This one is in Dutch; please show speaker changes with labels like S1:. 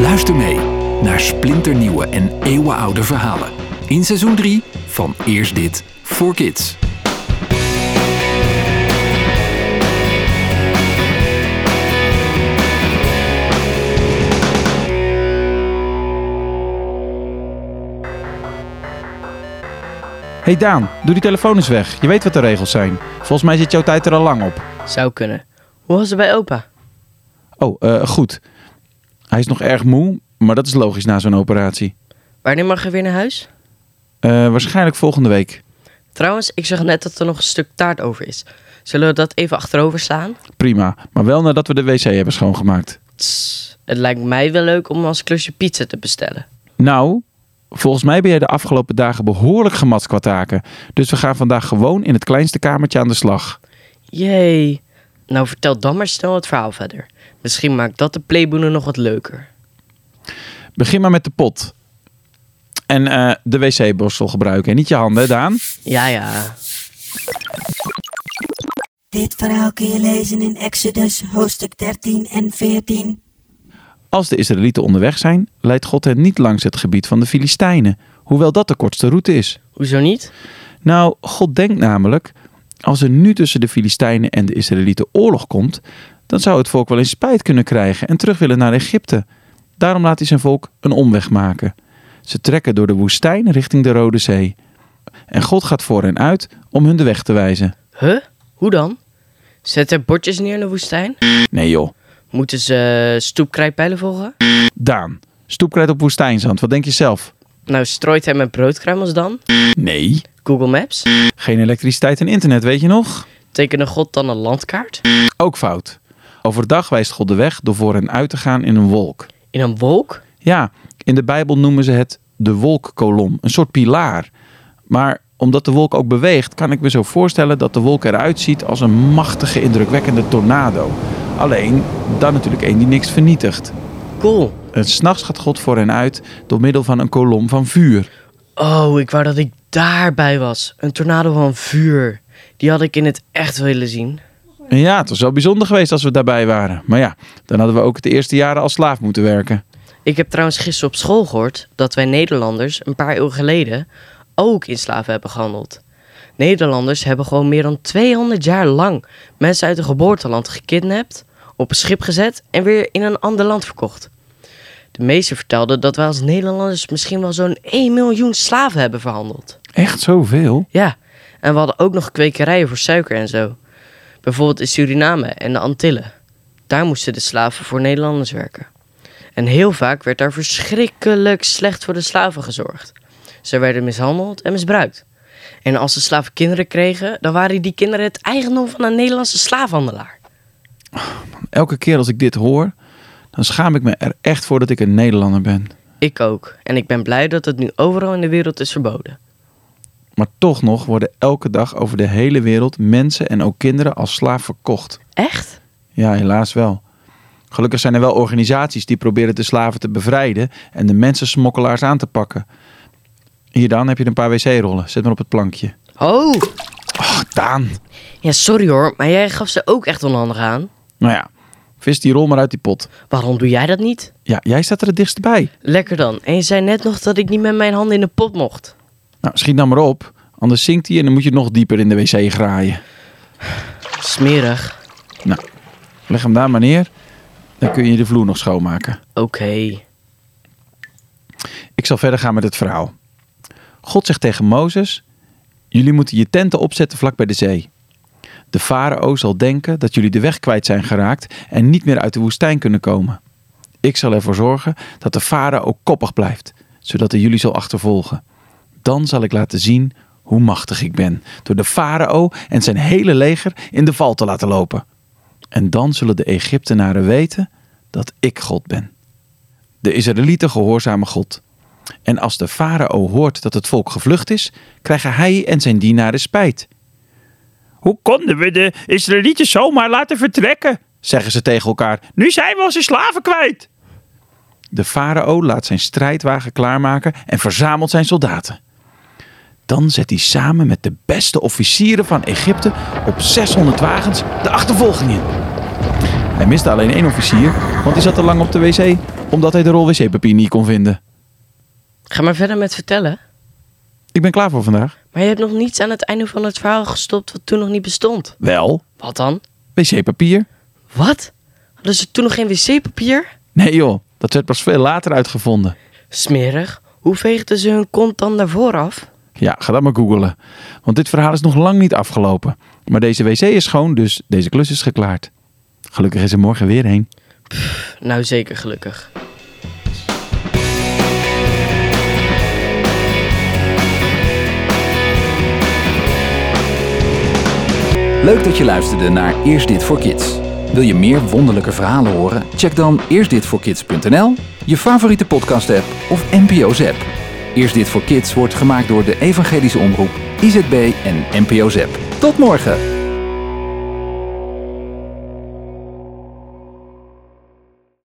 S1: Luister mee naar splinternieuwe en eeuwenoude verhalen. In seizoen 3 van Eerst Dit voor Kids.
S2: Hey Daan, doe die telefoon eens weg. Je weet wat de regels zijn. Volgens mij zit jouw tijd er al lang op.
S3: Zou kunnen. Hoe was het bij opa?
S2: Oh, eh, goed. Hij is nog erg moe, maar dat is logisch na zo'n operatie.
S3: Wanneer mag hij weer naar huis?
S2: Eh, waarschijnlijk volgende week.
S3: Trouwens, ik zag net dat er nog een stuk taart over is. Zullen we dat even achterover slaan?
S2: Prima, maar wel nadat we de wc hebben schoongemaakt.
S3: Tss, het lijkt mij wel leuk om als klusje pizza te bestellen.
S2: Nou, volgens mij ben jij de afgelopen dagen behoorlijk gematst qua taken. Dus we gaan vandaag gewoon in het kleinste kamertje aan de slag.
S3: Jee. Nou, vertel dan maar snel het verhaal verder. Misschien maakt dat de playboenen nog wat leuker.
S2: Begin maar met de pot. En eh, de wc-borstel gebruiken. En niet je handen, hè, Daan.
S3: Ja, ja.
S4: Dit verhaal kun je lezen in Exodus hoofdstuk 13 en 14.
S2: Als de Israëlieten onderweg zijn, leidt God hen niet langs het gebied van de Filistijnen, hoewel dat de kortste route is.
S3: Hoezo niet?
S2: Nou, God denkt namelijk, als er nu tussen de Filistijnen en de Israëlieten oorlog komt, dan zou het volk wel eens spijt kunnen krijgen en terug willen naar Egypte. Daarom laat hij zijn volk een omweg maken. Ze trekken door de woestijn richting de Rode Zee. En God gaat voor hen uit om hun de weg te wijzen.
S3: Huh? Hoe dan? Zet er bordjes neer in de woestijn?
S2: Nee joh,
S3: Moeten ze eh, stoepkrijpijlen volgen?
S2: Daan, stoepkrijt op woestijnzand, wat denk je zelf?
S3: Nou, strooit hij met broodkruimels dan?
S2: Nee,
S3: Google Maps?
S2: geen elektriciteit en internet, weet je nog?
S3: Tekende God dan een landkaart?
S2: Ook fout. Overdag wijst God de weg door voor hen uit te gaan in een wolk.
S3: In een wolk?
S2: Ja, in de Bijbel noemen ze het de wolkkolom, een soort pilaar. Maar omdat de wolk ook beweegt, kan ik me zo voorstellen dat de wolk eruit ziet als een machtige, indrukwekkende tornado. Alleen dan natuurlijk één die niks vernietigt.
S3: Cool.
S2: En s'nachts gaat God voor hen uit door middel van een kolom van vuur.
S3: Oh, ik wou dat ik daarbij was. Een tornado van vuur. Die had ik in het echt willen zien.
S2: En ja, het was wel bijzonder geweest als we daarbij waren. Maar ja, dan hadden we ook de eerste jaren als slaaf moeten werken.
S3: Ik heb trouwens gisteren op school gehoord dat wij Nederlanders een paar eeuwen geleden ook in slaven hebben gehandeld. Nederlanders hebben gewoon meer dan 200 jaar lang mensen uit hun geboorteland gekidnapt, op een schip gezet en weer in een ander land verkocht. De meesten vertelden dat wij als Nederlanders misschien wel zo'n 1 miljoen slaven hebben verhandeld.
S2: Echt zoveel?
S3: Ja, en we hadden ook nog kwekerijen voor suiker en zo. Bijvoorbeeld in Suriname en de Antillen. Daar moesten de slaven voor Nederlanders werken. En heel vaak werd daar verschrikkelijk slecht voor de slaven gezorgd. Ze werden mishandeld en misbruikt. En als de slaven kinderen kregen, dan waren die kinderen het eigendom van een Nederlandse slaafhandelaar.
S2: Elke keer als ik dit hoor, dan schaam ik me er echt voor dat ik een Nederlander ben.
S3: Ik ook. En ik ben blij dat het nu overal in de wereld is verboden.
S2: Maar toch nog worden elke dag over de hele wereld mensen en ook kinderen als slaaf verkocht.
S3: Echt?
S2: Ja, helaas wel. Gelukkig zijn er wel organisaties die proberen de slaven te bevrijden en de mensensmokkelaars aan te pakken. Hier dan heb je een paar wc-rollen. Zet maar op het plankje.
S3: Oh!
S2: Ach, Daan.
S3: Ja, sorry hoor, maar jij gaf ze ook echt onhandig aan.
S2: Nou ja, vis die rol maar uit die pot.
S3: Waarom doe jij dat niet?
S2: Ja, jij staat er het dichtst bij.
S3: Lekker dan. En je zei net nog dat ik niet met mijn handen in de pot mocht.
S2: Nou, schiet dan maar op. Anders zinkt hij en dan moet je nog dieper in de wc graaien.
S3: Smerig.
S2: Nou, leg hem daar maar neer. Dan kun je de vloer nog schoonmaken.
S3: Oké.
S2: Ik zal verder gaan met het verhaal. God zegt tegen Mozes: Jullie moeten je tenten opzetten vlak bij de zee. De farao zal denken dat jullie de weg kwijt zijn geraakt en niet meer uit de woestijn kunnen komen. Ik zal ervoor zorgen dat de farao koppig blijft, zodat hij jullie zal achtervolgen. Dan zal ik laten zien hoe machtig ik ben, door de farao en zijn hele leger in de val te laten lopen. En dan zullen de Egyptenaren weten dat ik God ben. De Israëlieten gehoorzamen God. En als de farao hoort dat het volk gevlucht is, krijgen hij en zijn dienaren spijt. Hoe konden we de Israëlieten zomaar laten vertrekken? zeggen ze tegen elkaar. Nu zijn we onze slaven kwijt. De farao laat zijn strijdwagen klaarmaken en verzamelt zijn soldaten. Dan zet hij samen met de beste officieren van Egypte op 600 wagens de achtervolging in. Hij miste alleen één officier, want die zat te lang op de wc. Omdat hij de rol wc-papier niet kon vinden.
S3: Ga maar verder met vertellen.
S2: Ik ben klaar voor vandaag.
S3: Maar je hebt nog niets aan het einde van het verhaal gestopt wat toen nog niet bestond.
S2: Wel,
S3: Wat dan?
S2: wc-papier.
S3: Wat? Hadden ze toen nog geen wc-papier?
S2: Nee joh, dat werd pas veel later uitgevonden.
S3: Smerig. Hoe veegden ze hun kont dan daarvoor af?
S2: Ja, ga dat maar googelen. Want dit verhaal is nog lang niet afgelopen. Maar deze wc is schoon, dus deze klus is geklaard. Gelukkig is er morgen weer heen.
S3: Nou, zeker gelukkig.
S1: Leuk dat je luisterde naar Eerst Dit voor Kids. Wil je meer wonderlijke verhalen horen? Check dan eerstditvoorkids.nl, je favoriete podcast app of NPO's app. Eerst Dit voor Kids wordt gemaakt door de Evangelische Omroep, IZB en NPO Zep. Tot morgen!